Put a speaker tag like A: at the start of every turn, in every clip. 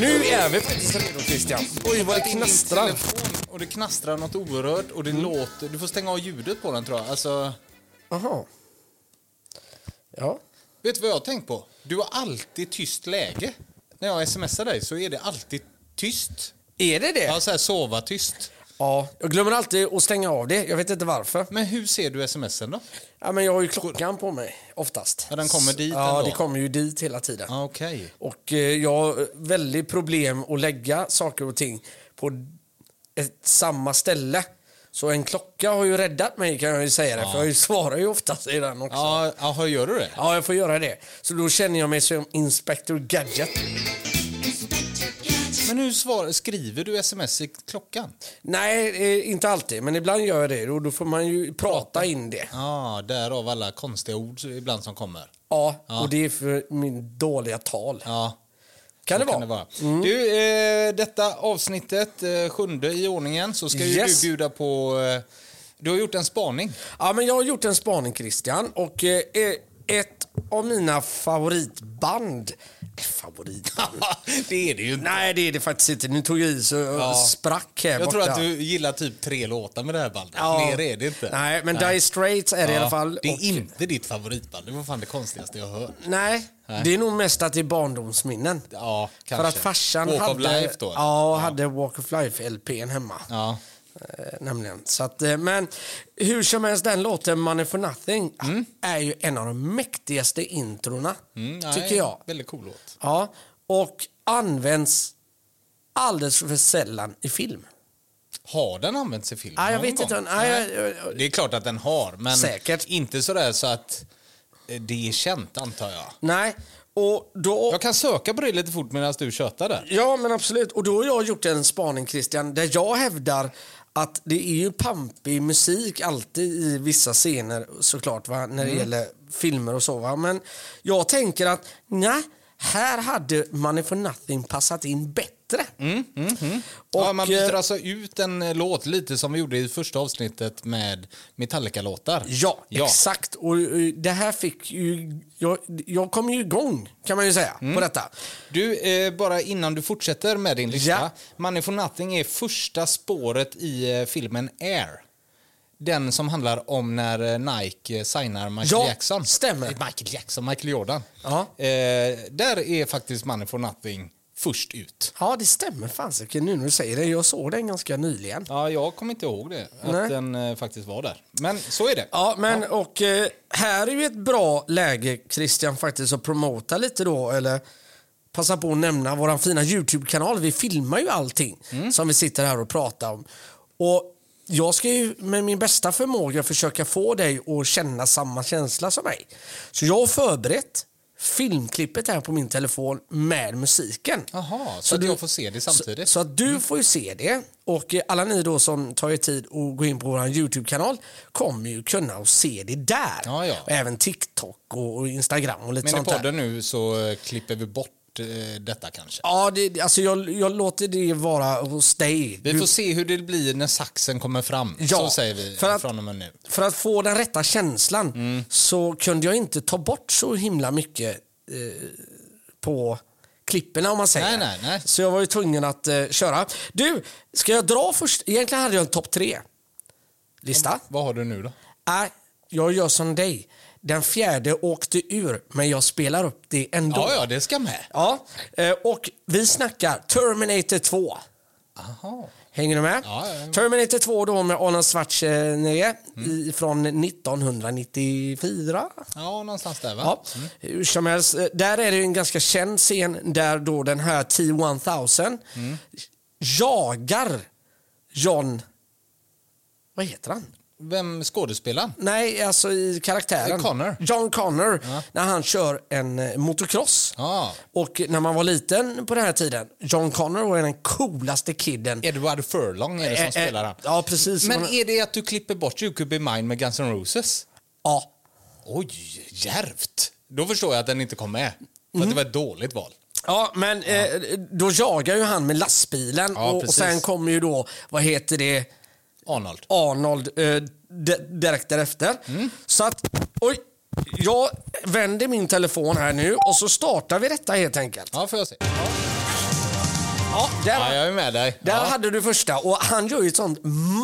A: Nu är vi faktiskt redo Christian. Oj vad det knastrar.
B: Och det knastrar något oerhört och det låter... Du får stänga av ljudet på den tror jag. Alltså,
A: Aha. Ja.
B: vet du vad jag har tänkt på? Du har alltid tyst läge. När jag smsar dig så är det alltid tyst.
A: Är det det?
B: Ja, så här sova tyst.
A: Ja. Jag glömmer alltid att stänga av det. Jag vet inte varför.
B: Men hur ser du smsen då?
A: Ja, men jag har ju klockan på mig oftast.
B: Ja, den kommer dit
A: Ja,
B: ändå.
A: det kommer ju dit hela tiden.
B: Ah, Okej.
A: Och eh, jag har väldigt problem att lägga saker och ting på ett, samma ställe. Så en klocka har ju räddat mig kan jag ju säga det, för jag ju svarar ju oftast i den också. Ja.
B: Ja, ja, hur gör du det?
A: jag får göra det. Så då känner jag mig som Inspector Gadget.
B: Men hur svar, skriver du sms i klockan?
A: Nej, eh, inte alltid, men ibland gör jag det och då får man ju prata in det.
B: Ja, därav alla konstiga ord ibland som kommer.
A: Ja, och det är för min dåliga tal.
B: Ja,
A: Kan det
B: så
A: vara. Mm.
B: kan det vara. Du, eh, detta avsnittet, eh, sjunde i ordningen, så ska ju
A: Yes.
B: du bjuda på... Eh, du har gjort en spaning.
A: Ja, men jag har gjort en spaning Christian och eh, eh, ett av mina favoritband... Favoritband?
B: det är det ju inte.
A: Nej, det är det faktiskt inte. Nu tog jag i så jag
B: Ja.
A: sprack här
B: Jag
A: borta.
B: tror att du gillar typ tre låtar med det här bandet.
A: Ja.
B: Mer är det inte.
A: Nej, men Dire Straits är det i alla fall.
B: Det är
A: och,
B: inte ditt favoritband. Det var fan det konstigaste jag har hört.
A: nej, det är nog mest att det är barndomsminnen.
B: Ja, kanske.
A: För att farsan
B: Walk
A: hade...
B: of Life då?
A: Ja, hade Walk of Life-LPn hemma.
B: Ja.
A: Eh, nämligen. Så att, eh, men hur som helst, den låten Money for Nothing är ju en av de mäktigaste introna,
B: Mm, nej,
A: tycker jag.
B: Väldigt cool låt.
A: Ja, och används alldeles för sällan i film.
B: Har den använts i film?
A: Ja, jag
B: någon
A: vet inte.
B: gång?
A: Nej, jag- jag-
B: Det är klart att den har, men
A: Säkert.
B: inte sådär så att eh, det är känt, antar jag.
A: Nej, och då...
B: Jag kan söka på det lite fort medan du tjötar där.
A: Ja, men absolut. Och då har jag gjort en spaning, Christian, där jag hävdar att det är ju pampig musik alltid i vissa scener såklart, va? när
B: Mm.
A: det gäller filmer och så. Va? Men jag tänker att nej, här hade Money for Nothing passat in bättre. Och,
B: Mm, ja, man
A: eh,
B: byter alltså ut en eh, låt lite som vi gjorde i första avsnittet med Metallica-låtar.
A: Ja, exakt. Och eh, det här fick ju... Jag, jag kom ju igång, kan man ju säga,
B: Mm.
A: på detta.
B: Du, eh, bara innan du fortsätter med din lista.
A: Ja.
B: Money for Nothing är första spåret i eh, filmen Air. Den som handlar om när eh, Nike eh, signar Michael
A: Ja,
B: Jackson.
A: stämmer.
B: Eh, Michael Jackson, Michael Jordan.
A: Ja.
B: Eh, där är faktiskt Money for Nothing först ut.
A: Ja, det stämmer fasiken nu när du säger det. Jag såg den ganska nyligen.
B: Ja, jag kommer inte ihåg det, att
A: Nej.
B: den eh, faktiskt var där. Men så är det.
A: Ja, men och eh, här är ju ett bra läge, Christian, faktiskt att promota lite då, eller passa på att nämna vår fina YouTube-kanal. Vi filmar ju allting
B: Mm.
A: som vi sitter här och pratar om. Och jag ska ju med min bästa förmåga försöka få dig att känna samma känsla som mig. Så jag har förberett filmklippet här på min telefon med musiken.
B: Jaha, så, att
A: du-
B: jag får se det samtidigt. Mm.
A: så, så att du får ju se det. Och eh, alla ni då som tar er tid och går in på vår YouTube-kanal kommer ju kunna att se det där.
B: Ja, ja.
A: Och även TikTok och och Instagram och lite
B: Men i
A: sånt där.
B: podden nu så eh, klipper vi bort eh, detta kanske.
A: Ja, det, det- alltså jag, jag låter det vara hos dig.
B: Vi
A: Du-
B: får se hur det blir när saxen kommer fram.
A: Ja,
B: så säger vi
A: för att-
B: från och med nu.
A: För att få den rätta känslan
B: Mm.
A: så kunde jag inte ta bort så himla mycket eh, på klippen om man säger.
B: Nej, nej, nej.
A: Så jag var ju tvungen att eh, köra. Du, ska jag dra först? Egentligen hade jag en topp tre-lista.
B: Vad har du nu då?
A: Nej, jag gör som dig. Den fjärde åkte ur, men jag spelar upp det ändå.
B: Ja, ja, det ska med.
A: Ja, eh, och vi snackar Terminator 2.
B: Aha.
A: Hänger du med?
B: Ja, ja, ja.
A: Terminator 2 då med Arnold Schwarzenegger i- från 1994.
B: Ja, Mm. någonstans där va?
A: Ja, hur som helst. eh, Där är det ju en ganska känd scen där då den här T-1000
B: Mm.
A: jagar John... Vad heter han?
B: Vem skådespelaren?
A: Nej, alltså i karaktären.
B: Connor.
A: John Connor. När han kör en eh, motocross.
B: Ja.
A: Och när man var liten på den här tiden, John Connor var den coolaste kidden.
B: Edward Furlong är det som
A: Eh, eh,
B: spelar han.
A: Ja, precis.
B: Men
A: Man-
B: är det att du klipper bort You Could Be Mine med Guns N' Roses?
A: ja.
B: Oj, djärvt. Då förstår jag att den inte kom med. För
A: Mm.
B: att det var ett dåligt val.
A: Ja, men Eh, då jagar ju han med lastbilen
B: Ja,
A: och, och
B: precis.
A: sen kommer ju då, vad heter det,
B: Arnold.
A: Arnold eh, d- direkt därefter.
B: Mm.
A: Så att, oj, jag vänder min telefon här nu och så startar vi detta helt enkelt.
B: Ja, får jag se.
A: Ja, där,
B: Ja, jag är med dig.
A: där
B: Ja.
A: hade du första. Och han gör ju ett sånt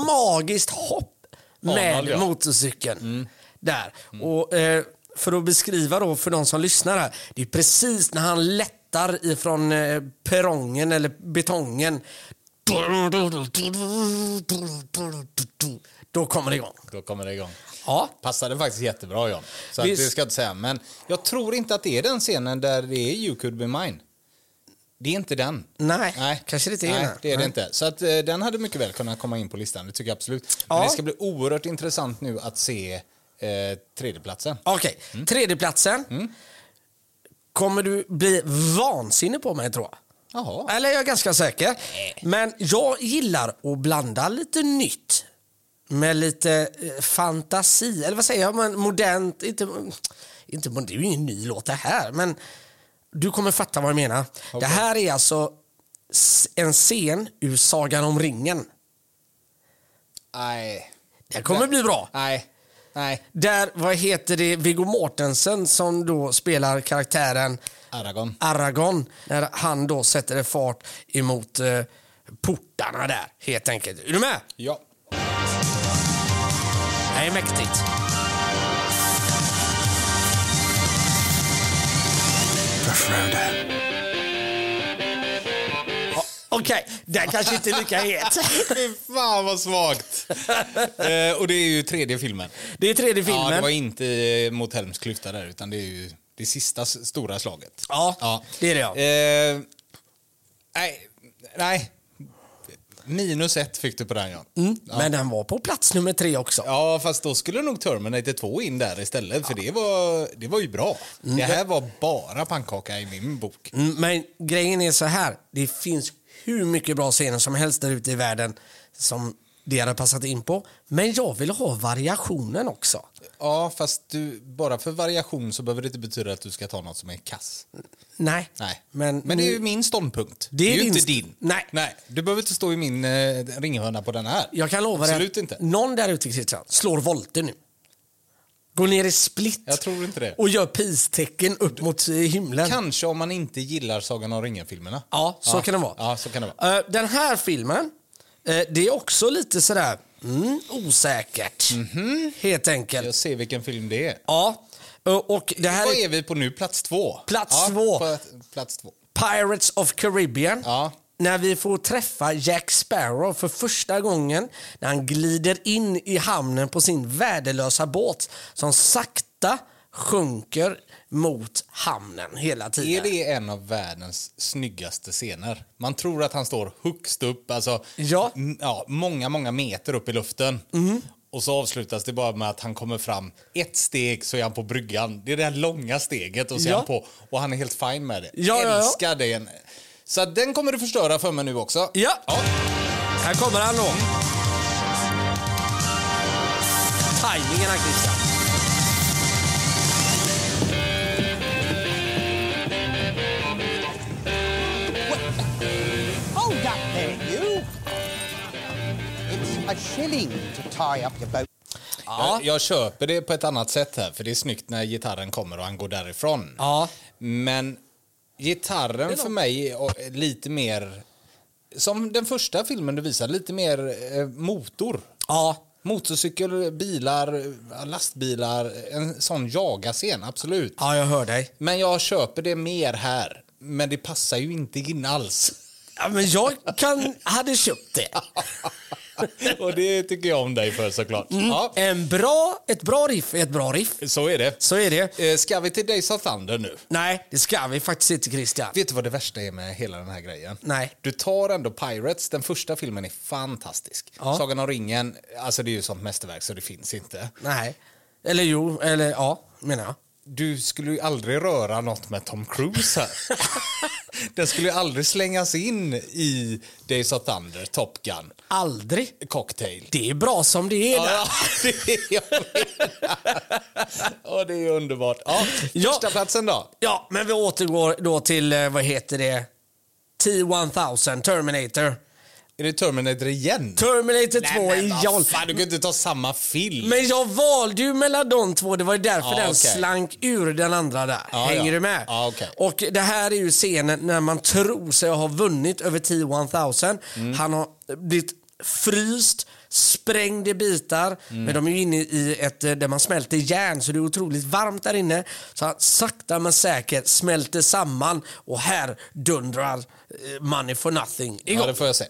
A: magiskt hopp med
B: Arnold, ja.
A: motorcykeln.
B: Mm.
A: Där. Och, eh, för att beskriva då för de som lyssnar här. Det är precis när han lättar ifrån eh, perrongen eller betongen. Då kommer det igång.
B: Då kommer det igång.
A: Ja.
B: Passade faktiskt jättebra John. Så att det
A: Visst.
B: ska jag inte säga. Men jag tror inte att det är den scenen där det är You could be mine. Det är inte den.
A: Nej, kanske det inte är
B: Nej,
A: den.
B: det är det
A: Nej.
B: inte. Så att, eh, den hade mycket väl kunnat komma in på listan, det tycker jag absolut. Men
A: Ja.
B: det ska bli oerhört intressant nu att se eh, tredjeplatsen.
A: Mm. Okej,
B: Mm.
A: tredjeplatsen. Kommer du bli vansinnig på mig tror jag.
B: Jaha.
A: Eller jag är ganska säker. Men jag gillar att blanda lite nytt med lite eh, fantasi. Eller vad säger jag? Men modernt. Inte, inte, det är ju ingen ny låt det här. Men du kommer fatta vad jag menar. Det här är alltså s- en scen ur Sagan om ringen.
B: Nej.
A: Det kommer bli bra.
B: Nej. Nej.
A: Där, vad heter det, Viggo Mortensen som då spelar karaktären
B: Aragon.
A: Aragon. När han då sätter en fart emot eh, portarna där, helt enkelt. Är du med?
B: Ja.
A: Det här är mäktigt. Ja, Okej, den kanske inte är lika het.
B: Fy fan vad svagt. eh, och det är ju tredje filmen.
A: Det är tredje
B: Ja, det
A: filmen.
B: var inte eh, mot Helms klyfta där, utan det är ju det sista s- stora slaget.
A: Ja, det är det, ja.
B: Eh, nej, nej. Minus ett fick du på den, Jan.
A: Mm, Men den var på plats nummer tre också.
B: Ja, fast då skulle nog Terminator 2 in där istället, för det var, det var ju bra. Det här var bara pannkaka i min bok.
A: Mm, Men grejen är så här. Det finns hur mycket bra scener som helst där ute i världen som det hade passat in på. Men jag vill ha variationen också.
B: Ja, fast du, bara för variation så behöver det inte betyda att du ska ta något som är kass.
A: Nej.
B: Nej.
A: Men,
B: det är ju min ståndpunkt.
A: Det är
B: ju
A: din
B: inte
A: st-
B: din.
A: Nej.
B: Nej. Du behöver inte stå i min eh, ringhörna på den här.
A: Jag kan lova dig.
B: Absolut
A: att
B: inte.
A: Någon där ute i Kristian slår volter nu. Går ner i split.
B: Jag tror inte det.
A: Och gör pistecken upp mot eh, himlen.
B: Kanske om man inte gillar Sagan om ringen-filmerna.
A: Ja, så kan det vara.
B: Ja, så kan det vara.
A: Eh, Den här filmen, eh, det är också lite sådär mm, osäkert.
B: Mhm.
A: Helt enkelt.
B: Jag ser vilken film det är.
A: Ja. Eh, Och det här
B: Vad
A: är
B: är vi på nu? Plats två?
A: Plats
B: ja,
A: två.
B: pla- Plats två.
A: Pirates of Caribbean.
B: Ja.
A: När vi får träffa Jack Sparrow för första gången när han glider in i hamnen på sin värdelösa båt som sakta sjunker mot hamnen hela
B: Är
A: tiden.
B: det en av världens snyggaste scener? Man tror att han står högst upp, alltså
A: Ja. Mm.
B: m- ja, många, många meter upp i luften. Och så avslutas det bara med att han kommer fram ett steg så är han på bryggan. Det är det här långa steget och så är
A: Ja.
B: han på och han är helt fin med det.
A: Ja, ja, ja.
B: Älskar den. Så att den kommer du förstöra för mig nu också.
A: Ja. Här kommer han då. Tajmingen här Christian.
C: Hold up there, you! It's a shilling to tie up your boat.
A: Ja.
B: Jag, jag köper det på ett annat sätt här, för det är snyggt när gitarren kommer och han går därifrån.
A: Ja.
B: Men gitarren för mig är lite mer, som den första filmen du visade, lite mer eh, motor.
A: Ja.
B: Motorcykel, bilar, eh, lastbilar, en sån jaga-scen, absolut.
A: ja, jag hör dig.
B: Men jag köper det mer här. Men det passar ju inte in alls.
A: Ja, men jag kan, hade köpt det.
B: och det tycker jag om dig för såklart.
A: Mm.
B: Ja,
A: En bra, ett bra riff är ett bra riff.
B: så är det.
A: Så är det.
B: Eh, Ska vi till Days of Thunder nu?
A: Nej, det ska vi faktiskt inte Christian.
B: Vet du vad det värsta är med hela den här grejen?
A: Nej.
B: Du tar ändå Pirates, den första filmen är fantastisk.
A: Ja.
B: Sagan om ringen, alltså det är ju sånt mästerverk så det finns inte.
A: Nej. Eller jo, eller ja, menar jag.
B: Du skulle ju aldrig röra något med Tom Cruise här. den skulle ju aldrig slängas in i Days of Thunder, Top Gun,
A: Aldrig.
B: Cocktail.
A: Det är bra som det är där.
B: Ja, det är jag Ja, det är underbart. Ja,
A: Ja.
B: första platsen då?
A: Ja, men vi återgår då till, eh, vad heter det? T-1000 Terminator.
B: Är det Terminator igen?
A: Terminator 2
B: Nej,
A: i
B: men
A: John.
B: vad fan, du kan inte ta samma film.
A: Men jag valde ju mellan de två. Det var ju därför
B: Ja,
A: den
B: okej.
A: slank ur den andra där.
B: Ja,
A: Hänger
B: ja.
A: du med?
B: Ja, okej.
A: Och det här är ju scenen när man tror sig ha vunnit över T-1000.
B: Mm.
A: Han har blivit fryst, sprängd i bitar.
B: Mm.
A: Men de är ju inne i ett eh, där man smälter järn så det är otroligt varmt där inne. Så han sakta men säkert smälter samman och här dundrar eh, Money for Nothing igång.
B: Ja, det får jag se.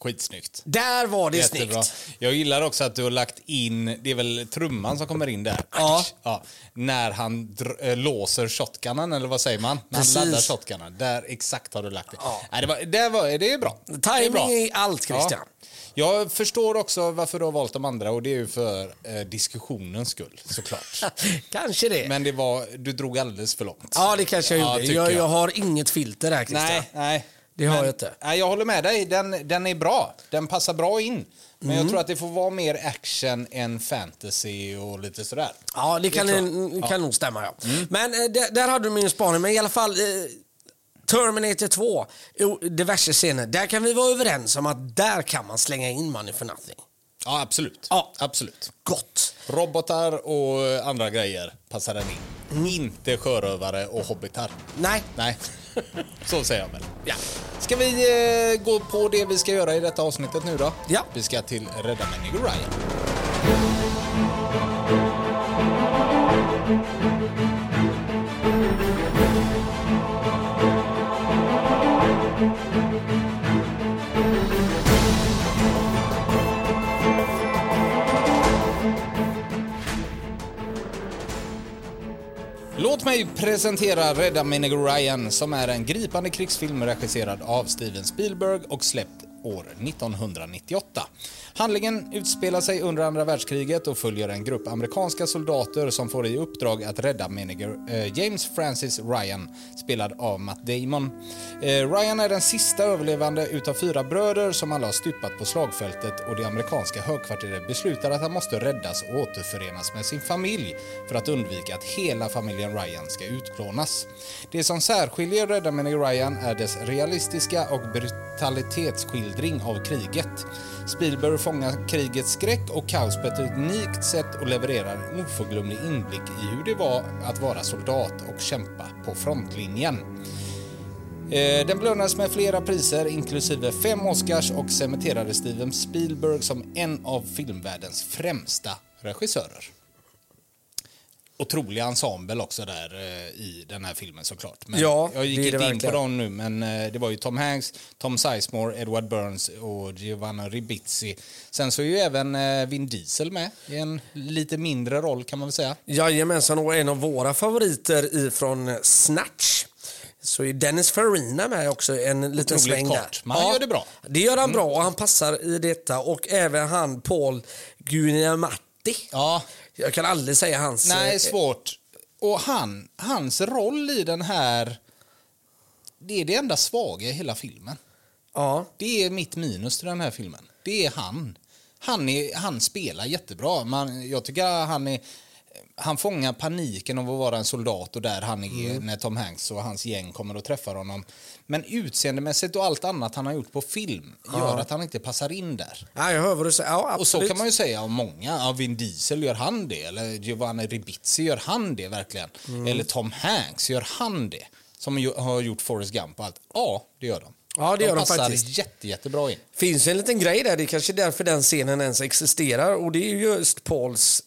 B: Skitsnyggt.
A: Där var det
B: Jättebra.
A: snyggt.
B: Jag gillar också att du har lagt in, det är väl trumman som kommer in där?
A: Ja.
B: När han dr- eh, låser shotgunen, eller vad säger man? När
A: Precis.
B: han laddar shotgunen. Där exakt har du lagt det.
A: Ja.
B: Nej, det, var, det, var, det är bra. det är bra.
A: Timing är allt Christian.
B: Jag förstår också varför du har valt de andra och det är ju för eh, diskussionens skull såklart.
A: Kanske det.
B: Men det var, du drog alldeles för långt.
A: Eh. Ja, det kanske jag
B: Ja,
A: gjorde.
B: tycker
A: jag,
B: jag.
A: jag har inget filter här, Christian.
B: Nej, nej.
A: Det har jag inte.
B: Nej, jag håller med dig. Den, den är bra. Den passar bra in. Men jag tror att det får vara mer action än fantasy och lite sådär.
A: Ja, det kan,
B: tror
A: det kan nog stämma. Ja.
B: Mm.
A: Men eh, där, där hade du min spaning. Men i alla fall, eh, Terminator 2, jo, diverse scener. Där kan vi vara överens om att där kan man slänga in Money for Nothing.
B: Ja, absolut.
A: Ja.
B: absolut.
A: Gott.
B: Robotar och andra grejer passar den in. Inte sjörövare och hobbitar.
A: Nej.
B: Nej, så säger jag väl.
A: Ja.
B: Ska vi eh, gå på det vi ska göra i detta avsnittet nu då?
A: Ja.
B: Vi ska till Rädda Människor Ryan. Låt mig presentera Rädda Minigo Ryan som är en gripande krigsfilm regisserad av Steven Spielberg och släppt år 1998. Handlingen utspelar sig under andra världskriget och följer en grupp amerikanska soldater som får i uppdrag att rädda Miniger, eh, James Francis Ryan, spelad av Matt Damon. Eh, Ryan är den sista överlevande utav fyra bröder som alla har stupat på slagfältet och det amerikanska högkvarteret beslutar att han måste räddas och återförenas med sin familj för att undvika att hela familjen Ryan ska utplånas. Det som särskiljer Rädda Menig Ryan är dess realistiska och brutalitetsskildring av kriget. Spielberg fångar krigets skräck och kaos på ett unikt sätt och levererar en oförglömlig inblick i hur det var att vara soldat och kämpa på frontlinjen. Eh, Den belönades med flera priser, inklusive fem Oscars och cementerade Steven Spielberg som en av filmvärldens främsta regissörer. Otrolig ensemble också där eh, i den här filmen såklart. Men
A: Ja,
B: jag gick
A: det är
B: inte
A: det
B: in på
A: verkligen.
B: dem nu, men eh, det var ju Tom Hanks, Tom Sizemore, Edward Burns och Giovanna Ribisi. Sen så är ju även eh, Vin Diesel med i en lite mindre roll kan man väl säga.
A: Jajamensan, och en av våra favoriter ifrån eh, Snatch. Så är Dennis Farina med också en liten
B: Otroligt
A: sväng
B: kort,
A: där.
B: men han gör det bra. Mm.
A: Det gör han bra och han passar i detta och även han Paul Guinamatti.
B: Ja,
A: Jag kan aldrig säga hans...
B: Nej,
A: eh,
B: svårt. Och han, hans roll i den här... Det är det enda svaga i hela filmen.
A: ja.
B: Det är mitt minus till den här filmen. Det är han. Han, är, han spelar jättebra. Man, jag tycker han är... Han fångar paniken av att vara en soldat och där han är när Tom Hanks och hans gäng kommer och träffar honom. Men utseendemässigt och allt annat han har gjort på film gör att han inte passar in där.
A: Ja, jag hör vad du säger. Ja, absolut.
B: Och så kan man ju säga om många. Ja, Vin Diesel, gör han det? Eller Giovanni Ribisi, gör han det verkligen?
A: Mm.
B: Eller Tom Hanks, gör han det? Som ju- har gjort Forrest Gump och allt. Ja, det gör de.
A: Ja, det gör de
B: passar
A: faktiskt.
B: Jätte, jättebra in.
A: finns ju en liten grej där. Det är kanske därför den scenen ens existerar. Och det är ju just Pauls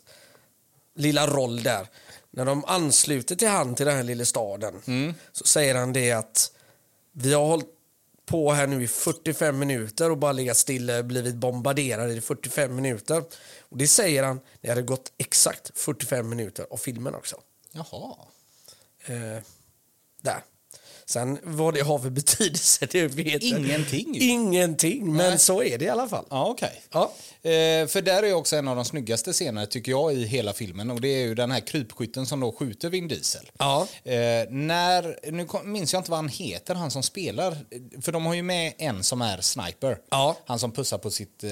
A: lilla roll där. När de ansluter till han till den här lilla staden
B: Mm.
A: så säger han det att vi har hållit på här nu i 45 minuter och bara legat stilla och blivit bombarderade i 45 minuter. Och det säger han när det gått exakt 45 minuter av filmen också.
B: Jaha.
A: Eh, där. Sen vad det har för betydelse, det vet jag.
B: Ingenting ju.
A: Ingenting, men
B: Nej.
A: så är det i alla fall.
B: Ja, okej.
A: Ja.
B: Eh, för där är också en av de snyggaste scenerna tycker jag i hela filmen och det är ju den här krypskytten som då skjuter Vin Diesel.
A: Ja.
B: Eh, när, nu kom- minns jag inte vad han heter, han som spelar, eh, för de har ju med en som är sniper.
A: Ja.
B: Han som pussar på sitt eh,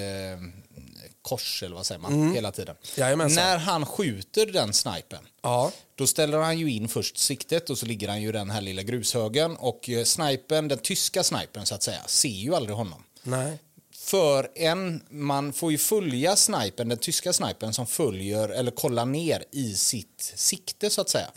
B: kors eller vad säger man hela tiden.
A: Mm. Jajamensan.
B: När han skjuter den snipern
A: Ja.
B: då ställer han ju in först siktet och så ligger han ju i den här lilla grushögen och eh, snipern, den tyska snipern så att säga, ser ju aldrig honom.
A: Nej.
B: För en, man får ju följa snipern, den tyska snipern som följer eller kollar ner i sitt sikte så att säga.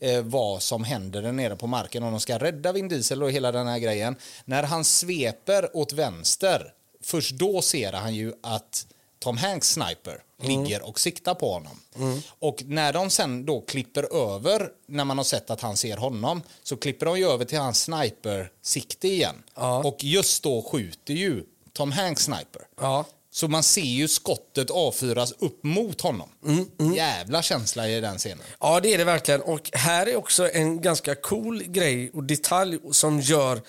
B: Eh, vad som händer där nere på marken om de ska rädda Vin Diesel och hela den här grejen. När han sveper åt vänster, först då ser han ju att Tom Hanks sniper ligger och siktar på honom. Och när de sen då klipper över, när man har sett att han ser honom, så klipper de ju över till hans sniper-sikte igen.
A: Ja.
B: Och just då skjuter ju Tom Hanks sniper.
A: Ja.
B: Så man ser ju skottet avfyras upp mot honom.
A: Mm,
B: Jävla känsla i den scenen.
A: Ja, det är det verkligen. Och här är också en ganska cool grej och detalj som gör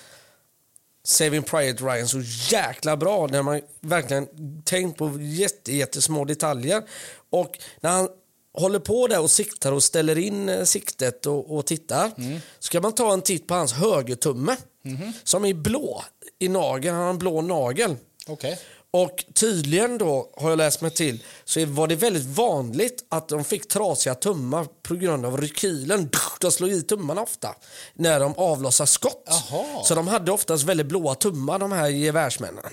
A: Saving Private Ryan så jäkla bra. När man verkligen tänkt på jätte, jättesmå detaljer. Och när han håller på där och siktar och ställer in eh, siktet och, och tittar. Så kan man ta en titt på hans högertumme. Som är blå i nageln. Han har en blå nagel.
B: Okej.
A: Och tydligen då, har jag läst mig till, så var det väldigt vanligt att de fick trasiga tummar på grund av rekylen. De slog i tummarna ofta när de avlossar skott.
B: Jaha.
A: Så de hade oftast väldigt blåa tummar de här gevärsmännen.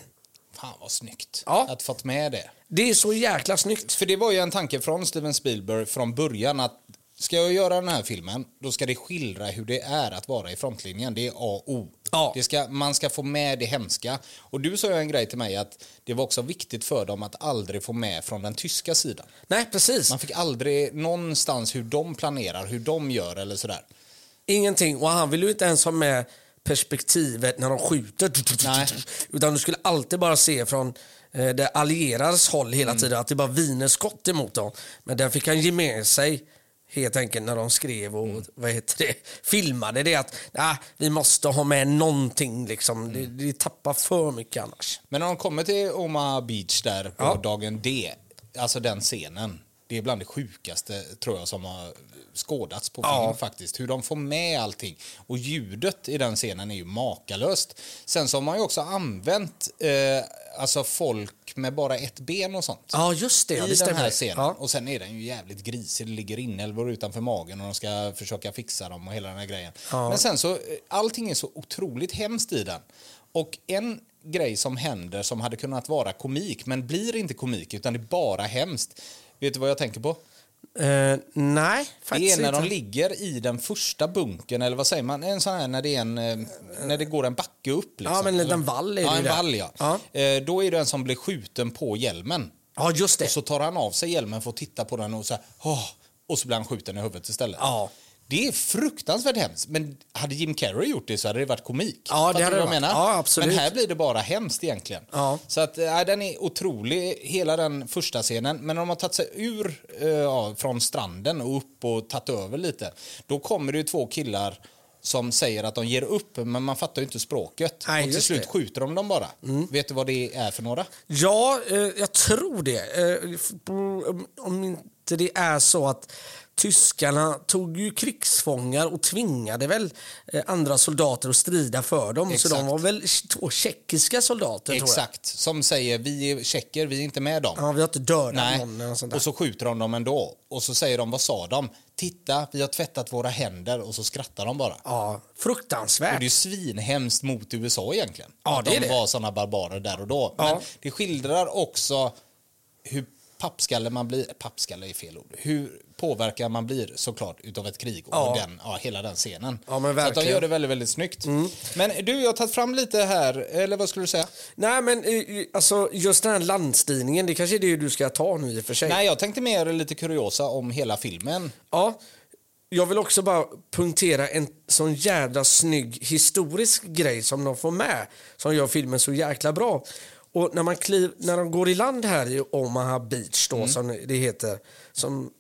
B: Fan vad snyggt
A: Ja.
B: att fått med det.
A: Det är så jäkla snyggt.
B: För det var ju en tanke från Steven Spielberg från början att ska jag göra den här filmen då ska det skildra hur det är att vara i frontlinjen. Det är A och O.
A: Ja.
B: Det ska, man ska få med det hemska. Och du sa ju en grej till mig att det var också viktigt för dem att aldrig få med från den tyska sidan.
A: Nej, precis.
B: Man fick aldrig någonstans hur de planerar, hur de gör eller sådär.
A: Ingenting. Och han ville ju inte ens ha med perspektivet när de skjuter.
B: Nej.
A: Utan du skulle alltid bara se från eh, det allierades håll hela tiden. Att det bara viner skott emot dem. Men den fick han ge med sig helt enkelt när de skrev och vad heter det, filmade det. Att ah, vi måste ha med någonting liksom. Det, det tappar för mycket annars.
B: Men när de kommer till Omaha Beach där på
A: Ja.
B: dagen D, alltså den scenen, det är bland det sjukaste tror jag som har skådats på film
A: Ja.
B: faktiskt. Hur de får med allting. Och ljudet i den scenen är ju makalöst. Sen så har man ju också använt eh, alltså folk med bara ett ben och sånt.
A: Ja, just det. ja,
B: I
A: det
B: den
A: stämmer.
B: här scenen.
A: Ja.
B: Och sen är den ju jävligt grisig. Det ligger inälvor utanför magen och de ska försöka fixa dem och hela den här grejen. Men sen så, eh, allting är så otroligt hemskt i den. Och en grej som händer som hade kunnat vara komik men blir inte komik utan det är bara hemskt. Vet du vad jag tänker på?
A: Eh, nej,
B: Det är
A: faktiskt
B: när de
A: inte.
B: ligger i den första bunkern eller vad säger man? En sån här när det, är en, eh, när det går en backe upp. Liksom.
A: Ja, men en liten
B: Eller-
A: vall är det
B: ja,
A: ju
B: en
A: där.
B: vall, ja.
A: Ja.
B: Eh, Då är det en som blir skjuten på hjälmen.
A: Ja, just det.
B: Och så tar han av sig hjälmen för att titta på den och så här, "Åh", och så blir han skjuten i huvudet istället.
A: Ja.
B: Det är fruktansvärt hemskt, men hade Jim Carrey gjort det så hade det varit komik.
A: Ja, det
B: Fattar du
A: hade
B: vad
A: det
B: jag
A: varit. Ja, absolut.
B: Men här blir det bara hemskt egentligen.
A: Ja.
B: Så att, äh, den är otrolig, hela den första scenen. Men om man tagit sig ur eh, ja, från stranden och upp och tagit över lite, då kommer det ju två killar som säger att de ger upp, men man fattar ju inte språket.
A: Nej,
B: och till
A: just
B: slut
A: det. Mm.
B: skjuter de dem bara. Vet du vad det är för några?
A: Ja, eh, jag tror det. Eh, f- om- om inte det är så att tyskarna tog ju krigsfångar och tvingade väl eh, andra soldater att strida för dem. Så de
B: Exakt.
A: var väl två tjeckiska soldater tror
B: Exakt, som säger vi är tjecker, vi är inte med dem.
A: jag. Ja, vi har inte dödat
B: Nej.
A: någon eller något sånt där.
B: Och så skjuter de dem ändå. Och så säger de, vad sa de? Titta, vi har tvättat våra händer och så skrattar de bara.
A: Ja,
B: Och
A: fruktansvärt.
B: det är ju svinhemskt mot USA egentligen.
A: Ja,
B: att
A: det är
B: de
A: det.
B: var såna barbarer där och då. Men
A: Ja.
B: det skildrar också hur pappskalle man blir. Pappskalle är fel ord. Hur påverkad man blir såklart utav ett krig och
A: Ja.
B: den, ja, hela den scenen.
A: Ja, men
B: så att de
A: verkligen. Mm.
B: gör det väldigt, väldigt snyggt. Men du, jag har tagit fram lite här, eller vad skulle du säga?
A: Nej men eh, alltså just den här landstigningen, det kanske är det du ska ta nu i och för sig.
B: Nej, jag tänkte mer lite kuriosa om hela filmen.
A: Ja, jag vill också bara punktera en sån jävla snygg historisk grej som de får med som gör filmen så jäkla bra. Och när, man kliv,
B: Mm.
A: när de går i land här i Omaha Beach då, som det heter, som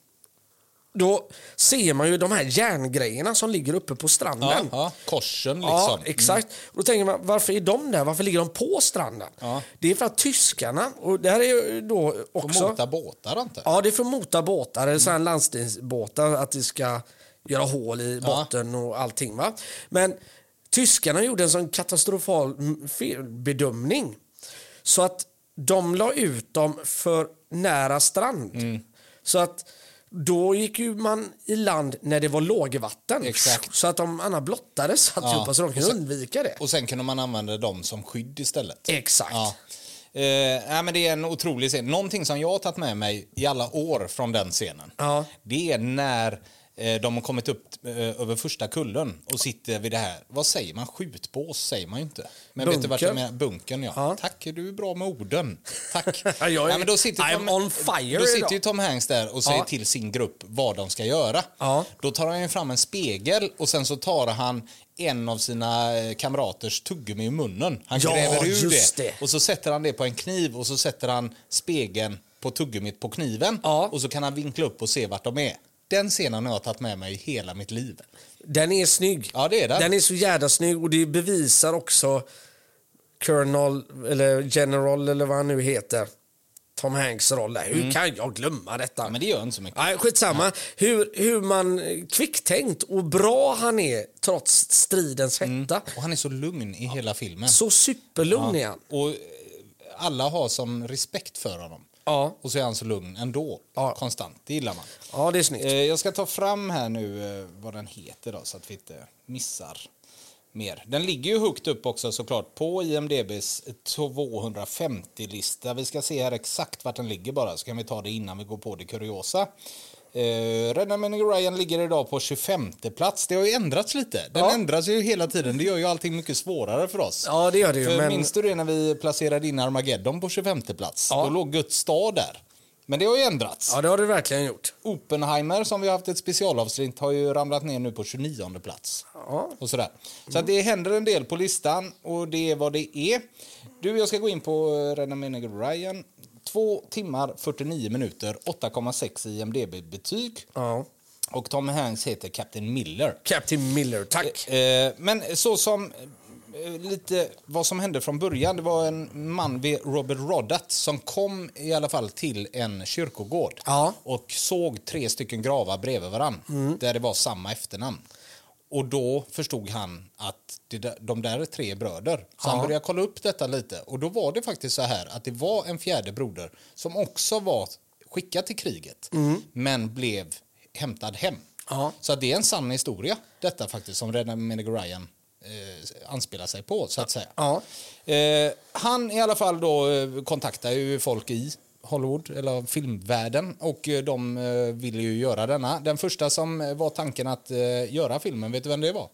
A: då ser man ju de här järngrejerna som ligger uppe på stranden.
B: Ja, ja, korsen liksom.
A: Ja, exakt. Och då tänker man, varför är de där? Varför ligger de på stranden?
B: Ja.
A: Det är för att tyskarna, och det här är ju då
B: Och
A: också...
B: mota båtar inte.
A: Ja, det är för att mota båtar, eller så här landstigningsbåtar, att det ska göra hål i botten och allting. Va? Men tyskarna gjorde en sån katastrofal mm, felbedömning så att de la ut dem för nära strand.
B: Mm.
A: Så att då gick ju man i land när det var lågvatten.
B: Exakt.
A: Så att de annars blottades alltihopa så de
B: och
A: kunde
B: sen-
A: undvika det.
B: Och sen kunde man använda dem som skydd istället.
A: Exakt.
B: Ja. Eh, nej, men det är en otrolig scen. Någonting som jag har tagit med mig i alla år från den scenen.
A: Ja.
B: Det är när eh, de har kommit upp eh, över första kullen och sitter vid det här. Vad säger man? Skjutbås säger man ju inte. Men vet du vart jag
A: Bunker.
B: menar? Bunkern ja.
A: Ja.
B: Tack, du är bra med orden. Tack.
A: Jag är-
B: men då sitter
A: I'm
B: Tom,
A: on fire
B: Då
A: idag.
B: sitter ju Tom Hanks där och säger
A: Ja.
B: till sin grupp vad de ska göra.
A: Ja.
B: Då tar han ju fram en spegel och sen så tar han en av sina eh, kamraters tuggummi i munnen. Han
A: Ja,
B: gräver ur
A: just
B: det.
A: det.
B: Och så sätter han det på en kniv och så sätter han spegeln på tuggummit på kniven.
A: Ja.
B: Och så kan han vinkla upp och se vart de är. Den scenen har jag tagit med mig i hela mitt liv.
A: Den är snygg.
B: Ja, det är den.
A: Den är så jävla snygg och det bevisar också Colonel, eller General eller vad han nu heter. Tom Hanks roll där. Hur kan jag glömma detta?
B: Mm. Men det gör inte så mycket.
A: Nej, skitsamma. Hur, hur man eh, kvicktänkt och bra han är trots stridens hetta.
B: Och han är så lugn i hela filmen.
A: Så superlugn är han.
B: Och eh, alla har som respekt för honom.
A: Ja.
B: Och så är han så lugn ändå.
A: Ja.
B: Konstant. Det gillar man.
A: Ja, det är snyggt.
B: Eh, Jag ska ta fram här nu eh, vad den heter då, så att vi inte missar mer. Den ligger ju högt upp också såklart på IMDBs 250-lista. Vi ska se här exakt vart den ligger bara så kan vi ta det innan vi går på det kuriosa. Eh, Rädda Menig Ryan ligger idag på 25 plats. Det har ju ändrats lite. Den
A: Ja.
B: ändras ju hela tiden. Det gör ju allting mycket svårare för oss.
A: Ja, det gör det ju,
B: För
A: men-
B: Minns du det när vi placerade in Armageddon på 25 plats?
A: Ja.
B: Då låg Guds stad där. Men det har ju ändrats.
A: Ja, det har du verkligen gjort.
B: Oppenheimer som vi har haft ett specialavsnitt har ju ramlat ner nu på 29 plats.
A: Ja.
B: Och sådär. Så att det händer en del på listan och det är vad det är. Du, jag ska gå in på eh, Rädda Menig Ryan. 2 timmar 49 minuter, 8,6 i IMDB-betyg.
A: Ja.
B: Och Tom Hanks heter Captain Miller.
A: Captain Miller, tack.
B: Eh, men så som eh, lite vad som hände från början. Det var en man vid Robert Roddat som kom i alla fall till en kyrkogård
A: Ja.
B: och såg tre stycken gravar bredvid varann där det var samma efternamn. Och då förstod han att det där, de där är tre bröder. Så han började kolla upp detta lite. Och då var det faktiskt så här att det var en fjärde broder som också var skickad till kriget men blev hämtad hem.
A: Ja.
B: Så att det är en sann historia, detta faktiskt, som Red Menig Ryan eh, anspelar sig på, så att säga.
A: Ja.
B: Eh, han i alla fall då eh, kontaktar ju folk i Hollywood, eller filmvärlden, och eh, de eh, ville ju göra denna. Den första som eh, var tanken att eh, göra filmen, vet du vem det var?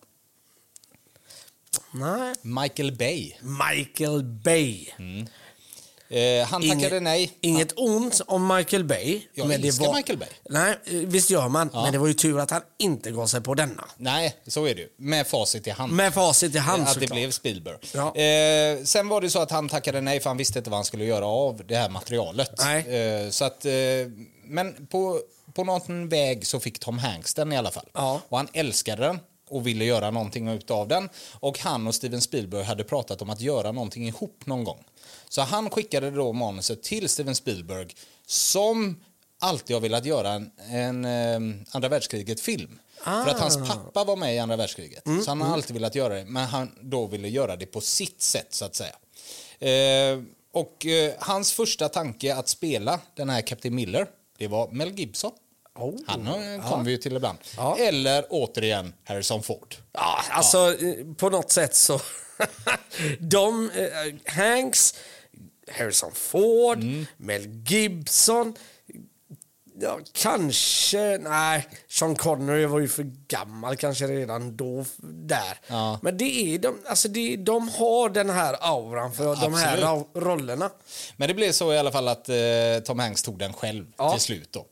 A: Nej.
B: Michael Bay.
A: Michael Bay.
B: Mm. Eh, han
A: Inget-
B: tackade nej.
A: Inget ont om Michael Bay.
B: Jag älskar Michael Bay.
A: Nej, eh, visst gör man. Men det var ju tur att han inte gav sig på denna.
B: Nej, så är det ju. Med facit i hand.
A: Med facit i hand
B: att det
A: såklart.
B: blev Spielberg.
A: Ja.
B: Eh, sen var det så att han tackade nej för han visste inte vad han skulle göra av det här materialet.
A: Nej.
B: Eh, så att, eh, men på, på någon väg så fick Tom Hanks den i alla fall.
A: Ja.
B: Och han älskade den och ville göra någonting utav den. Och han och Steven Spielberg hade pratat om att göra någonting ihop någon gång. Så han skickade då manuset till Steven Spielberg som alltid har velat göra en, en eh, andra världskriget-film. För att hans pappa var med i andra världskriget. så han har alltid velat göra det. Men han då ville göra det på sitt sätt så att säga. Eh, och eh, hans första tanke att spela den här Captain Miller, det var Mel Gibson.
A: Oh.
B: Han eh, kommer vi ju till ibland.
A: Ja.
B: Eller återigen Harrison Ford.
A: Ja, alltså eh, på något sätt så... De, eh, Hanks, Harrison Ford,
B: Mm.
A: Mel Gibson. Ja, kanske... Nej, Sean Connery var ju för gammal kanske redan då. f- Där.
B: Ja.
A: Men det är de, alltså det är, de har den här auran för de här
B: Absolut.
A: ra- rollerna.
B: Men det blev så i alla fall att eh, Tom Hanks tog den själv
A: Ja.
B: till slut. Då.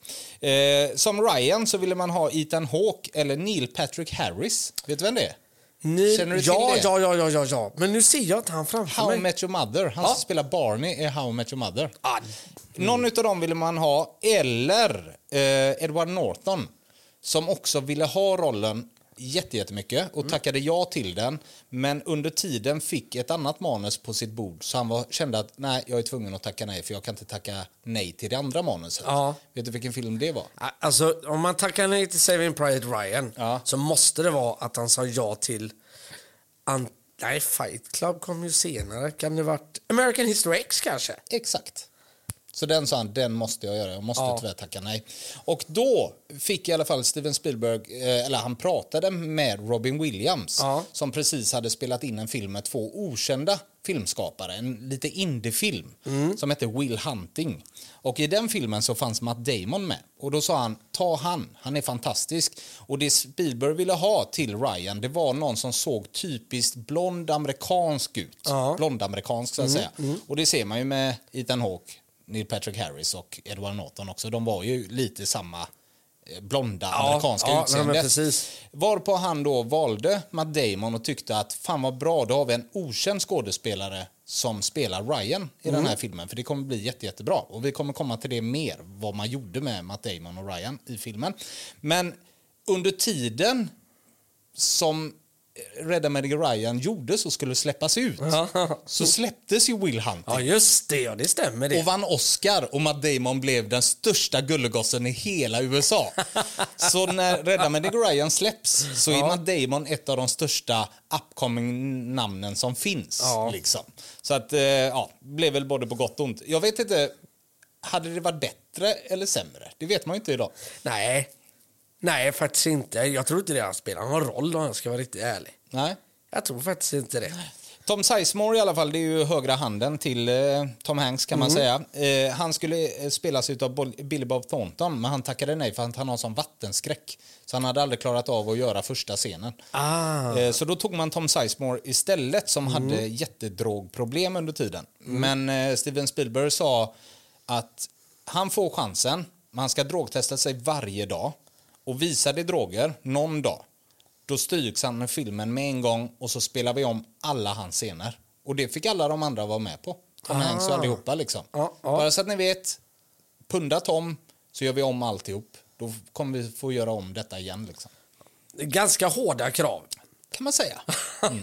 B: Eh, som Ryan så ville man ha Ethan Hawke eller Neil Patrick Harris. Vet du vem det är?
A: Ni,
B: Känner du till
A: ja,
B: det?
A: ja, ja, ja, ja, ja. Men nu ser jag inte han framför
B: How I
A: mig.
B: Met Your Mother. Han som spelar Barney i How I Met Your Mother.
A: Ah,
B: Någon utav dem ville man ha, eller eh, Edward Norton som också ville ha rollen jätte- jättemycket
A: Mm.
B: och tackade ja till den. Men under tiden fick ett annat manus på sitt bord så han var, kände att nej, jag är tvungen att tacka nej för jag kan inte tacka nej till det andra manuset.
A: Ja.
B: Vet du vilken film det var?
A: Alltså, om man tackar nej till Saving Private Ryan
B: Ja.
A: så måste det vara att han sa ja till... An- nej, Fight Club kom ju senare. Kan det varit American History X kanske?
B: Exakt. Så den sa han, den måste jag göra. Jag måste
A: Ja.
B: tyvärr tacka nej. Och då fick i alla fall Steven Spielberg, eh, eller han pratade med Robin Williams
A: Ja.
B: som precis hade spelat in en film med två okända filmskapare, en lite indiefilm som hette Will Hunting. Och i den filmen så fanns Matt Damon med och då sa han, ta han, han är fantastisk. Och det Spielberg ville ha till Ryan, det var någon som såg typiskt blond amerikansk ut.
A: Ja. Mm,
B: Blond amerikansk så att säga. Och det ser man ju med Ethan Hawke, Neil Patrick Harris och Edward Norton också. De var ju lite samma eh, blonda amerikanska
A: ja,
B: utseende.
A: men precis.
B: Varpå han då valde Matt Damon och tyckte att fan vad bra, då har vi en okänd skådespelare som spelar Ryan i den här filmen. För det kommer bli jätte, jättebra. Och vi kommer komma till det mer, vad man gjorde med Matt Damon och Ryan i filmen. Men under tiden som Rädda Medical Ryan gjorde så skulle släppas ut.
A: Ja.
B: Så släpptes ju Will Hunting
A: Ja, just det. Ja, det stämmer det.
B: och vann Oscar och Matt Damon blev den största gullegossen i hela USA. så när Rädda Medical Ryan släpps så är Matt Damon ett av de största upcoming namnen som finns.
A: Ja.
B: Liksom. Så att, eh, ja, blev väl både på gott och ont. Jag vet inte, hade det varit bättre eller sämre? Det vet man ju inte idag.
A: Nej. Nej, faktiskt inte. Jag tror inte det har spelat någon roll om jag ska vara riktigt ärlig.
B: Nej.
A: Jag tror faktiskt inte det.
B: Tom Sizemore i alla fall, det är ju högra handen till eh, Tom Hanks kan man säga. Eh, han skulle eh, spelas av Bol- Billy Bob Thornton men han tackade nej för att han har sån vattenskräck. Så han hade aldrig klarat av att göra första scenen.
A: Ah. Mm.
B: Eh, så då tog man Tom Sizemore istället som hade jättedrogproblem under tiden. Men eh, Steven Spielberg sa att han får chansen, men han ska drogtesta sig varje dag och visar det droger någon dag då stryks han med filmen med en gång och så spelar vi om alla hans scener. Och det fick alla de andra vara med på. Tom Hanks och allihopa liksom.
A: Ah. Ja, ja.
B: Bara så att ni vet, punda Tom så gör vi om alltihop. Då kommer vi få göra om detta igen liksom.
A: Ganska hårda krav.
B: Kan man säga. Mm.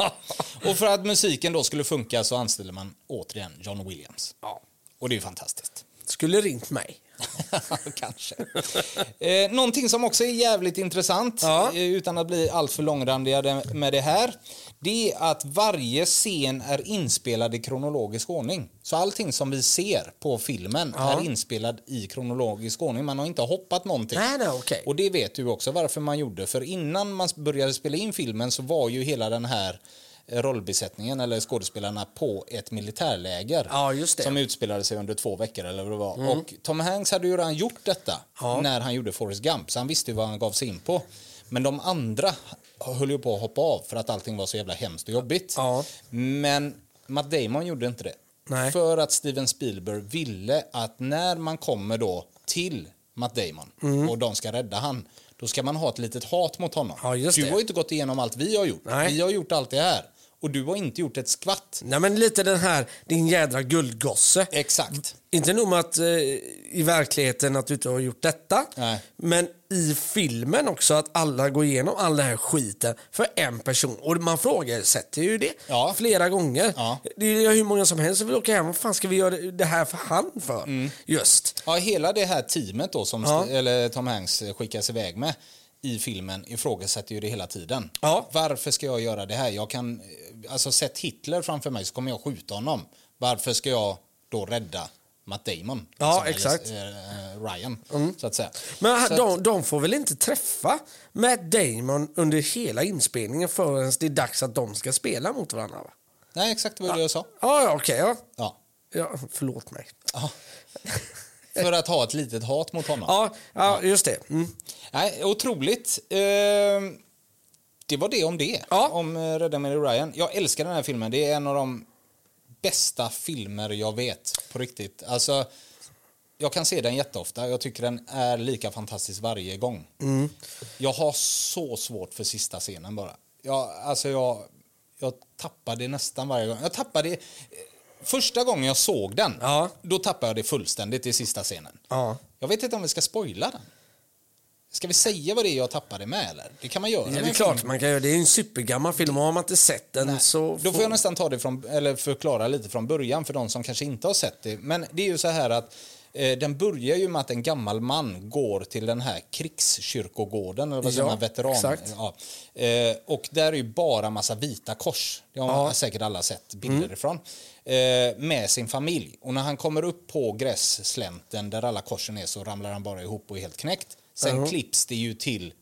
B: och för att musiken då skulle funka så anställer man återigen John Williams.
A: Ja.
B: Och det är ju fantastiskt.
A: Skulle ringt mig.
B: Kanske. Eh, någonting som också är jävligt intressant,
A: Ja.
B: eh, utan att bli alltför långrandiga med det här, det är att varje scen är inspelad i kronologisk ordning. Så allting som vi ser på filmen är inspelad i kronologisk ordning. Man har inte hoppat någonting.
A: Nej, nej, okej.
B: Och det vet du också varför man gjorde. För innan man började spela in filmen så var ju hela den här eh, rollbesättningen eller skådespelarna på ett militärläger
A: Ja, just det.
B: som utspelade sig under två veckor eller vad det var. Och Tom Hanks hade ju redan gjort detta
A: Mm. Ja.
B: när han gjorde Forrest Gump så han visste ju vad han gav sig in på. Men de andra höll ju på att hoppa av för att allting var så jävla hemskt och jobbigt.
A: Ja.
B: Men Matt Damon gjorde inte det.
A: Nej.
B: För att Steven Spielberg ville att när man kommer då till Matt Damon
A: Mm.
B: och de ska rädda han, då ska man ha ett litet hat mot honom.
A: Ja, just
B: du
A: det.
B: har ju inte gått igenom allt vi har gjort.
A: Nej.
B: Vi har gjort allt det här. Och du har inte gjort ett skvatt.
A: Nej, men lite den här, din jädra guldgosse.
B: Exakt.
A: Inte nog med att eh, i verkligheten att du inte har gjort detta,
B: Nej.
A: men i filmen också att alla går igenom all den här skiten för en person. Och man frågasätter ju det
B: Ja.
A: flera gånger.
B: Ja.
A: Det är ju hur många som helst som vill åka hem. Vad fan ska vi göra det här för han för?
B: Mm.
A: Just.
B: Ja, hela det här teamet då som
A: Ja.
B: eller Tom Hanks eh, skickas iväg med i filmen ifrågasätter ju det hela tiden.
A: Ja.
B: Varför ska jag göra det här? Jag kan, eh, alltså sett Hitler framför mig så kommer jag skjuta honom. Varför ska jag då rädda Matt Damon?
A: Ja,
B: Eller,
A: exakt. Mm.
B: eh, Ryan, så att säga.
A: Men
B: så
A: de, de får väl inte träffa Matt Damon under hela inspelningen förrän det är dags att de ska spela mot varandra? Va?
B: Nej, exakt det var det jag sa.
A: Ja, ja okej. ja.
B: Ja.
A: Ja, förlåt mig.
B: Ja. För att ha ett litet hat mot honom.
A: Ja, ja just det. Mm.
B: Nej, otroligt. Eh, det var det om det.
A: Ja.
B: Om eh, Rädda Mary Ryan. Jag älskar den här filmen. Det är en av de bästa filmer jag vet. På riktigt. Alltså, jag kan se den jätteofta. Jag tycker den är lika fantastisk varje gång.
A: Mm.
B: Jag har så svårt för sista scenen bara. Jag, alltså jag, jag tappar det nästan varje gång. Jag tappar det... eh, Första gången jag såg den,
A: Ja.
B: då tappade jag det fullständigt i sista scenen.
A: Ja.
B: Jag vet inte om vi ska spoila den. Ska vi säga vad det är jag tappade med eller? Det kan man göra.
A: Det
B: med
A: är
B: en
A: klart
B: film.
A: man kan göra. Det är ju en supergammal film och har man inte sett den så...
B: Då får jag nästan ta det från, eller förklara lite från början för de som kanske inte har sett det. Men det är ju så här att eh, den börjar ju med att en gammal man går till den här krigskyrkogården, eller vad säger
A: Ja,
B: man, veteran...
A: exakt.
B: Ja. Eh, och där är ju bara massa vita kors. Det har säkert alla sett
A: Mm.
B: bilder ifrån. Eh, med sin familj. Och när han kommer upp på grässlänten där alla korsen är så ramlar han bara ihop och är helt knäckt. Sen klipps det ju till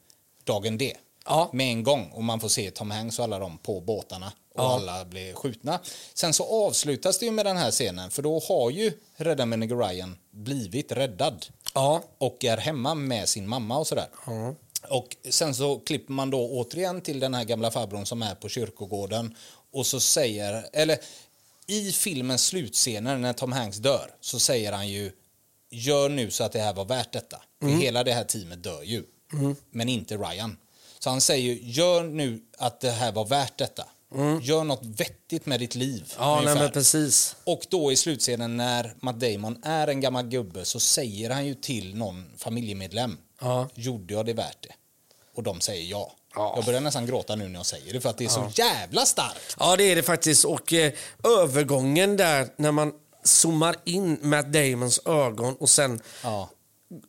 B: dagen D
A: Ja.
B: med en gång och man får se Tom Hanks och alla dem på båtarna och alla blir skjutna. Sen så avslutas det ju med den här scenen för då har ju Rädda Menigo Ryan blivit räddad
A: Ja.
B: och är hemma med sin mamma och sådär. Och sen så klipper man då återigen till den här gamla farbrorn som är på kyrkogården och så säger, eller i filmens slutscener när Tom Hanks dör så säger han ju gör nu så att det här var värt detta.
A: Mm.
B: För hela det här teamet dör ju, men inte Ryan. Så han säger ju gör nu att det här var värt detta. Gör något vettigt med ditt liv.
A: Mm. Ja, nej,
B: ungefär.
A: men precis.
B: Och då i slutscenen när Matt Damon är en gammal gubbe så säger han ju till någon familjemedlem.
A: Ja.
B: Gjorde jag det värt det? Och de säger ja.
A: Ja.
B: Jag börjar nästan gråta nu när jag säger det för att det är så jävla starkt.
A: Ja, det är det faktiskt. Och eh, övergången där när man zoomar in Matt Damons ögon och sen
B: Ja.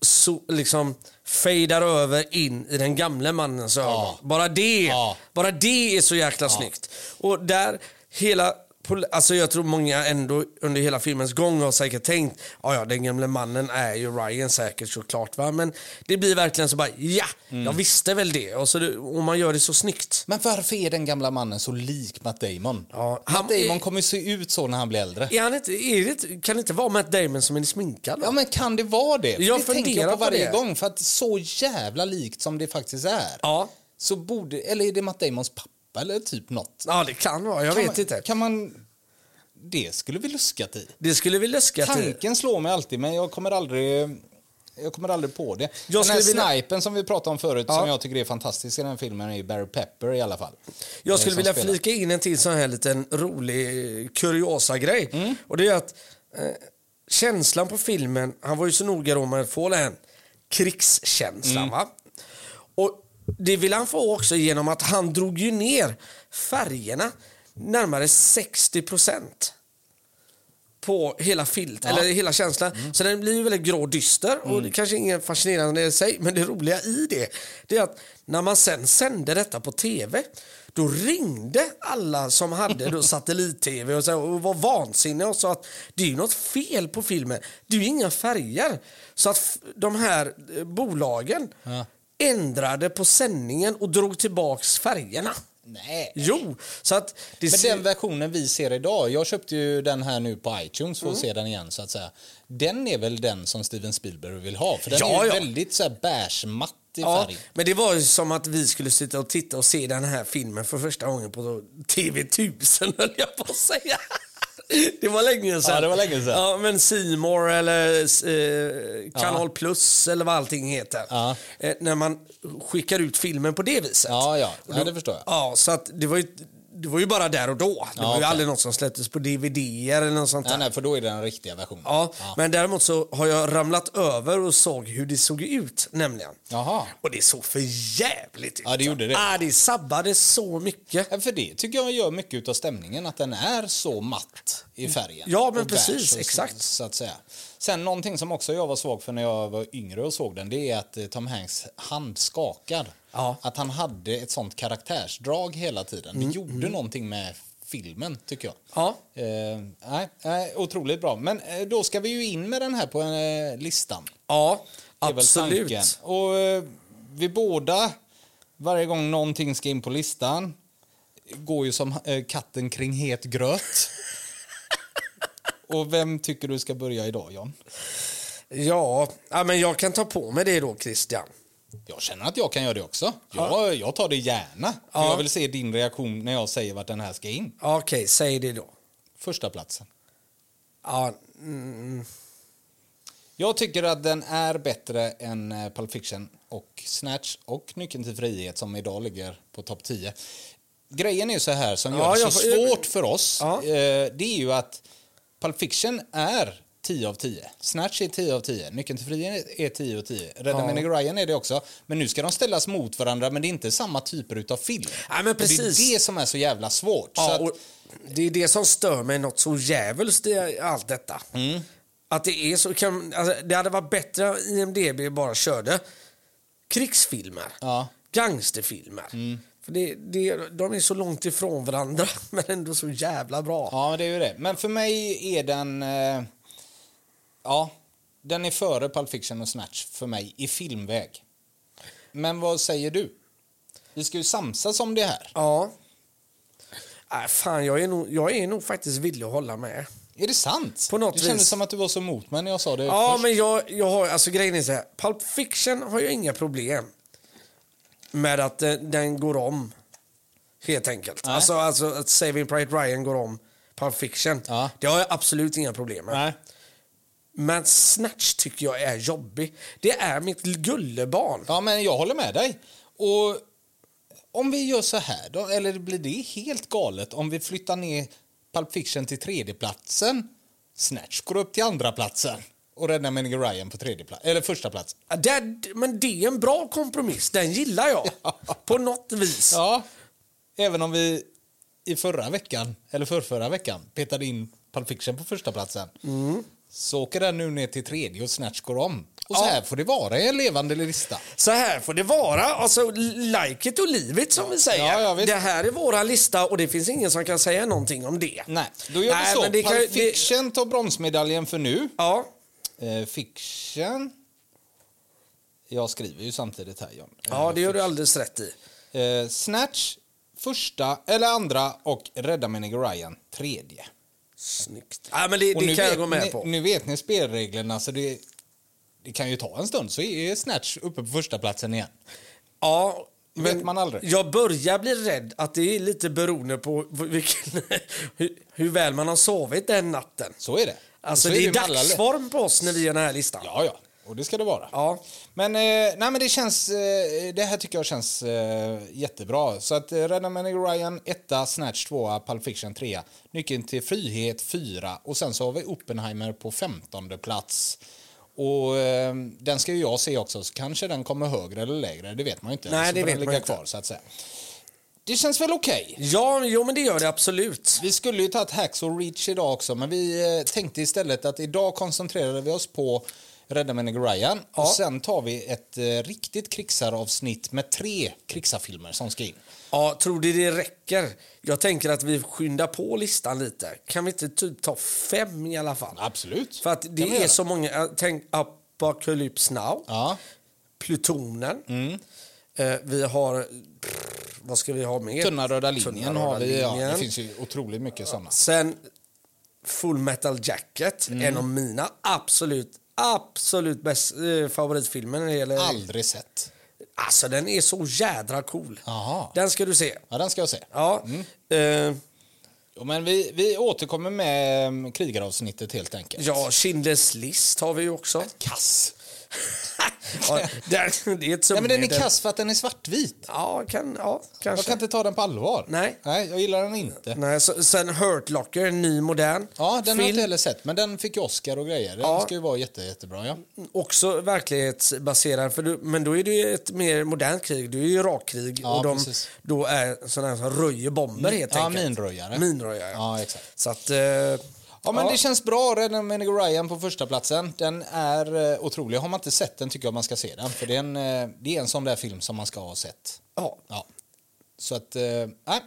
A: so, liksom fejdar över in i den gamle mannens ögon. Bara det,
B: Ja.
A: bara det är så jäkla snyggt. Och där hela pol- Alltså jag tror många ändå under hela filmens gång har säkert tänkt "Ah, ja ja den gamle mannen är ju Ryan säkert såklart va men det blir verkligen så bara ja
B: Mm.
A: jag visste väl det och, så det, och man gör det så snyggt.
B: Men varför är den gamla mannen så lik Matt Damon?
A: Ja, han-
B: Matt Damon kommer se ut så när han blir äldre.
A: Är han inte, är det, inte- kan det inte vara Matt Damon som är sminkad? va?
B: Ja men kan det vara det? För
A: Jag
B: det tänker
A: funderar
B: jag
A: på
B: på varje
A: det.
B: gång för att så jävla likt som det faktiskt är.
A: ja.
B: Så borde, eller är det Matt Damons pappa eller typ något?
A: ja, det kan vara. Jag
B: kan
A: vet
B: man,
A: inte.
B: Kan man... Det skulle vi luskat i.
A: Det skulle vi läska till.
B: Tanken slår mig alltid, men jag kommer aldrig... Jag kommer aldrig på det.
A: Jag
B: den här
A: skulle vilja-
B: snipern som vi pratade om förut,
A: Ja.
B: som jag tycker är fantastisk i den filmen, är ju Barry Pepper i alla fall.
A: Jag skulle
B: Som
A: vilja
B: spelar.
A: flika in en till sån här liten rolig eh, kuriosa-grej.
B: Mm.
A: Och det är att eh, känslan på filmen, han var ju så noga då med att få den här krigskänslan.
B: Mm.
A: Va? Och det ville han få också genom att han drog ju ner färgerna närmare 60 procent. på hela filt, eller hela känslan. Så den blir ju väldigt grå och dyster och det kanske ingen fascinerande i sig, men det roliga i det, det är att när man sen sände detta på tv, då ringde alla som hade då satellit-tv och, så, och var vansinniga och sa att det är ju något fel på filmen, det är ju inga färger. Så att f- de här eh, bolagen ändrade på sändningen och drog tillbaks färgerna.
B: Nej.
A: Jo, så att... Det
B: Men
A: ser-
B: den versionen vi ser idag, jag köpte ju den här nu på iTunes för
A: Mm.
B: att se den igen så att säga. Den är väl den som Steven Spielberg vill ha? För den
A: Ja,
B: är ju
A: ja.
B: väldigt så här beige-matt i
A: Ja,
B: färg.
A: men det var ju som att vi skulle sitta och titta och se den här filmen för första gången på TV1000 höll jag på att säga. Det var länge sedan.
B: Ja, det var länge sedan.
A: Ja, men Simor eller eh, Kanal Plus eller vad allting heter.
B: Ja.
A: Eh, när man skickar ut filmen på det viset.
B: Ja, ja.
A: Och
B: Ja, det förstår jag.
A: Ja, så att det var ju, det var ju bara där och då. Det var ju
B: okej.
A: aldrig något som släpptes på DVD eller något sånt där.
B: Nej, nej, för då är det den riktiga versionen.
A: Ja, men däremot så har jag ramlat över och såg hur det såg ut nämligen.
B: Jaha.
A: Och det såg för jävligt ut.
B: Ja, det gjorde det.
A: Ah, det sabbade så mycket.
B: Ja, för det tycker jag gör mycket av stämningen, att den är så matt i färgen.
A: Ja, men
B: Och beige
A: precis,
B: och så-
A: exakt.
B: Så att säga. Sen någonting som också jag var svag för när jag var yngre och såg den, det är att eh, Tom Hanks hand skakar.
A: Ja. Mm,
B: Att han hade ett sånt karaktärsdrag hela tiden. Det gjorde någonting med filmen, tycker jag.
A: Ja.
B: Eh, nej, nej, otroligt bra. Men eh, då ska vi ju in med den här på eh, listan.
A: Ja,
B: Det är väl
A: absolut.
B: tanken. Och eh, vi båda, varje gång någonting ska in på listan, går ju som eh, katten kring het gröt. Och vem tycker du ska börja idag, John?
A: Ja, ja, men jag kan ta på mig det då Christian.
B: Jag känner att jag kan göra det också. Jag, jag tar det gärna. För
A: Ja.
B: Jag vill se din reaktion när jag säger vart den här ska in.
A: Ja, Okej, säg det då.
B: Första platsen.
A: Ja, mm,
B: Jag tycker att den är bättre än eh, Pulp Fiction och Snatch och Nyckeln till frihet som idag ligger på topp 10. Grejen är ju så här som
A: Ja,
B: gör det
A: jag
B: så
A: får-
B: svårt för oss.
A: Ja.
B: eh, Det är ju att Pulp Fiction är 10 av 10. Snatch är 10 av 10. Nyckeln till frihet är 10 av 10. Rädda Menig Ryan är det också. Men nu ska de ställas mot varandra men det är inte samma typer utav film.
A: Nej, men
B: Och Det
A: precis.
B: är det som är så jävla svårt. så
A: Ja,
B: att,
A: och det är det som stör mig något så djävulskt i allt detta.
B: Mm.
A: Att det är så... Kan, alltså, det hade varit bättre om IMDB bara körde krigsfilmer,
B: Ja. Mm.
A: gangsterfilmer. För det, det, de är så långt ifrån varandra men ändå så jävla bra.
B: Ja, men det är ju det. Men för mig är den... Eh, ja, den är före Pulp Fiction och Snatch för mig i filmväg. Men vad säger du? Vi ska ju samsas om det här.
A: Ja. Äh, fan, jag är, nog, jag är nog faktiskt villig att hålla med.
B: Är det sant?
A: På något
B: det kändes
A: vis.
B: som att du var så emot mig när jag sa det
A: Ja,
B: först.
A: men jag, jag har, alltså grejen är så här. Pulp Fiction har jag inga problem med att eh, den går om. Helt enkelt.
B: Nej.
A: Alltså, alltså att Saving Private Ryan går om Pulp Fiction.
B: Ja.
A: Det har jag absolut inga problem med.
B: Nej.
A: Men Snatch tycker jag är jobbig. Det är mitt gullebarn.
B: Ja, men jag håller med dig. Och om vi gör så här då, eller blir det helt galet om vi flyttar ner Pulp Fiction till tredjeplatsen, Snatch går upp till andra platsen och Rädda Meningen Ryan på tredje plats, eller första plats.
A: Ja, Äh, Det är, men det är en bra kompromiss. Den gillar jag. På något vis.
B: Ja, även om vi i förra veckan, eller förrförra veckan, petade in Pulp Fiction på första platsen. Så åker den nu ner till tredje och Snatch går om. Och så
A: Ja.
B: här får det vara i en levande lista.
A: Så här får det vara. Alltså, like it och live it som vi säger.
B: Ja, ja, visst.
A: det här är våra lista och det finns ingen som kan säga någonting om det.
B: Nej, då gör
A: Nej,
B: vi så.
A: men det kan-
B: Pulp
A: det-
B: Fiction tar bronsmedaljen för nu.
A: Ja,
B: Eh, fiction. Jag skriver ju samtidigt här, John.
A: ja
B: Eh,
A: det gör du alldeles rätt i.
B: Eh, Snatch, första eller andra och Rädda Menig Ryan, tredje.
A: Snyggt. Ja, men det
B: Och
A: det
B: nu
A: kan jag
B: vet
A: gå med
B: ni,
A: på.
B: Nu vet ni spelreglerna, så det, det kan ju ta en stund så är Snatch uppe på första platsen igen.
A: ja,
B: Det vet man aldrig.
A: Jag börjar bli rädd att det är lite beroende på vilken, hur, hur väl man har sovit den natten.
B: Så är det.
A: Alltså
B: Och
A: det
B: så
A: är,
B: med alla lä-
A: dagsform på oss när vi gör den här listan.
B: Ja, ja. Och det ska det vara.
A: Ja.
B: Men, eh, nej, men det känns... Eh, det här tycker jag känns eh, jättebra. Så att eh, Rädda Menig Ryan 1, Snatch 2, Pulp Fiction 3, Nyckeln till frihet 4 och sen så har vi Oppenheimer på 15 plats. Och eh, den ska ju jag se också, så kanske den kommer högre eller lägre, det vet man ju inte.
A: Nej,
B: så
A: det
B: får
A: vet
B: den
A: man
B: ligga
A: inte.
B: kvar så att säga. Det känns väl okej?
A: Ja, jo men det gör det absolut.
B: Vi skulle ju tagit Hacks och Reach idag också, men vi eh, tänkte istället att idag koncentrerade vi oss på Rädda Menig Ryan
A: Ja.
B: och sen tar vi ett eh, riktigt krigsaravsnitt med tre krigsarfilmer som ska in.
A: Ja, tror du det räcker? Jag tänker att vi skyndar på listan lite. Kan vi inte typ ta fem i alla fall?
B: Absolut.
A: För att det
B: Kan vi
A: är
B: göra.
A: så många. äh, Tänk Apocalypse Now,
B: Ja. Mm.
A: Plutonen. Eh, vi har... pff, vad ska vi ha mer?
B: Tunna röda linjen
A: Tunna
B: har
A: röda
B: vi. Ja, det
A: linjen.
B: finns ju otroligt mycket sådana.
A: Sen Full Metal Jacket,
B: Mm.
A: en av mina absolut, absolut bäst, eh, favoritfilmer när det gäller...
B: Aldrig sett.
A: Alltså den är så jädra cool.
B: Jaha. Mm.
A: Den ska du se.
B: Ja, den ska jag se.
A: Ja. Eh,
B: Jo, Men vi, vi återkommer med eh, krigaravsnittet helt enkelt.
A: Ja, Schindler's list har vi ju också.
B: Kass.
A: ja, där, det är ett
B: Nej, men den är
A: summedel.
B: kass för att den är svartvit.
A: Ja, kan, ja
B: Jag
A: kanske.
B: kan inte ta den på allvar.
A: Nej.
B: Nej, jag gillar den inte.
A: Nej, så, sen Hurt Locker, en ny modern
B: Ja, den har jag inte
A: film.
B: heller sett, men den fick ju Oscar och grejer. Den
A: Ja.
B: ska ju vara jätte, jättebra. Ja.
A: Också verklighetsbaserad, för du, men då är det ju ett mer modernt krig. Det är ju Irakkrig
B: Ja,
A: och de
B: precis.
A: då är sådana här som röjer bomber helt
B: Ja,
A: enkelt.
B: minröjare.
A: Minröjare.
B: Ja, exakt.
A: Så att, eh, ja,
B: Ja, men det känns bra. Rädda Menig Ryan på första platsen. Den är eh, otrolig. Har man inte sett den tycker jag man ska se den. För det är en, eh, det är en sån där film som man ska ha sett.
A: ja.
B: Ja. Så att, eh, nej.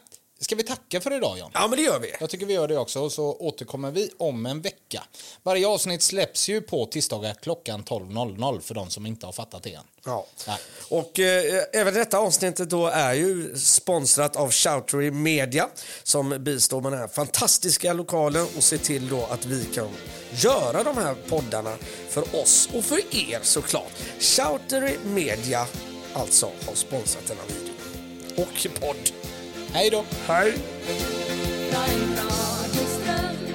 B: Ska vi tacka för idag, John?
A: ja, men det gör vi.
B: Jag tycker vi gör det också och så återkommer vi om en vecka. Varje avsnitt släpps ju på tisdagar klockan 12.00 för de som inte har fattat det än.
A: Ja.
B: Nej.
A: Och eh, även detta avsnittet då är ju sponsrat av Shoutery Media som bistår med den här fantastiska lokalen och ser till då att vi kan göra de här poddarna för oss och för er såklart. Shoutery Media alltså har sponsrat denna video. Och podd.
B: Hej då!
A: Hej!
D: Dein Rat ist der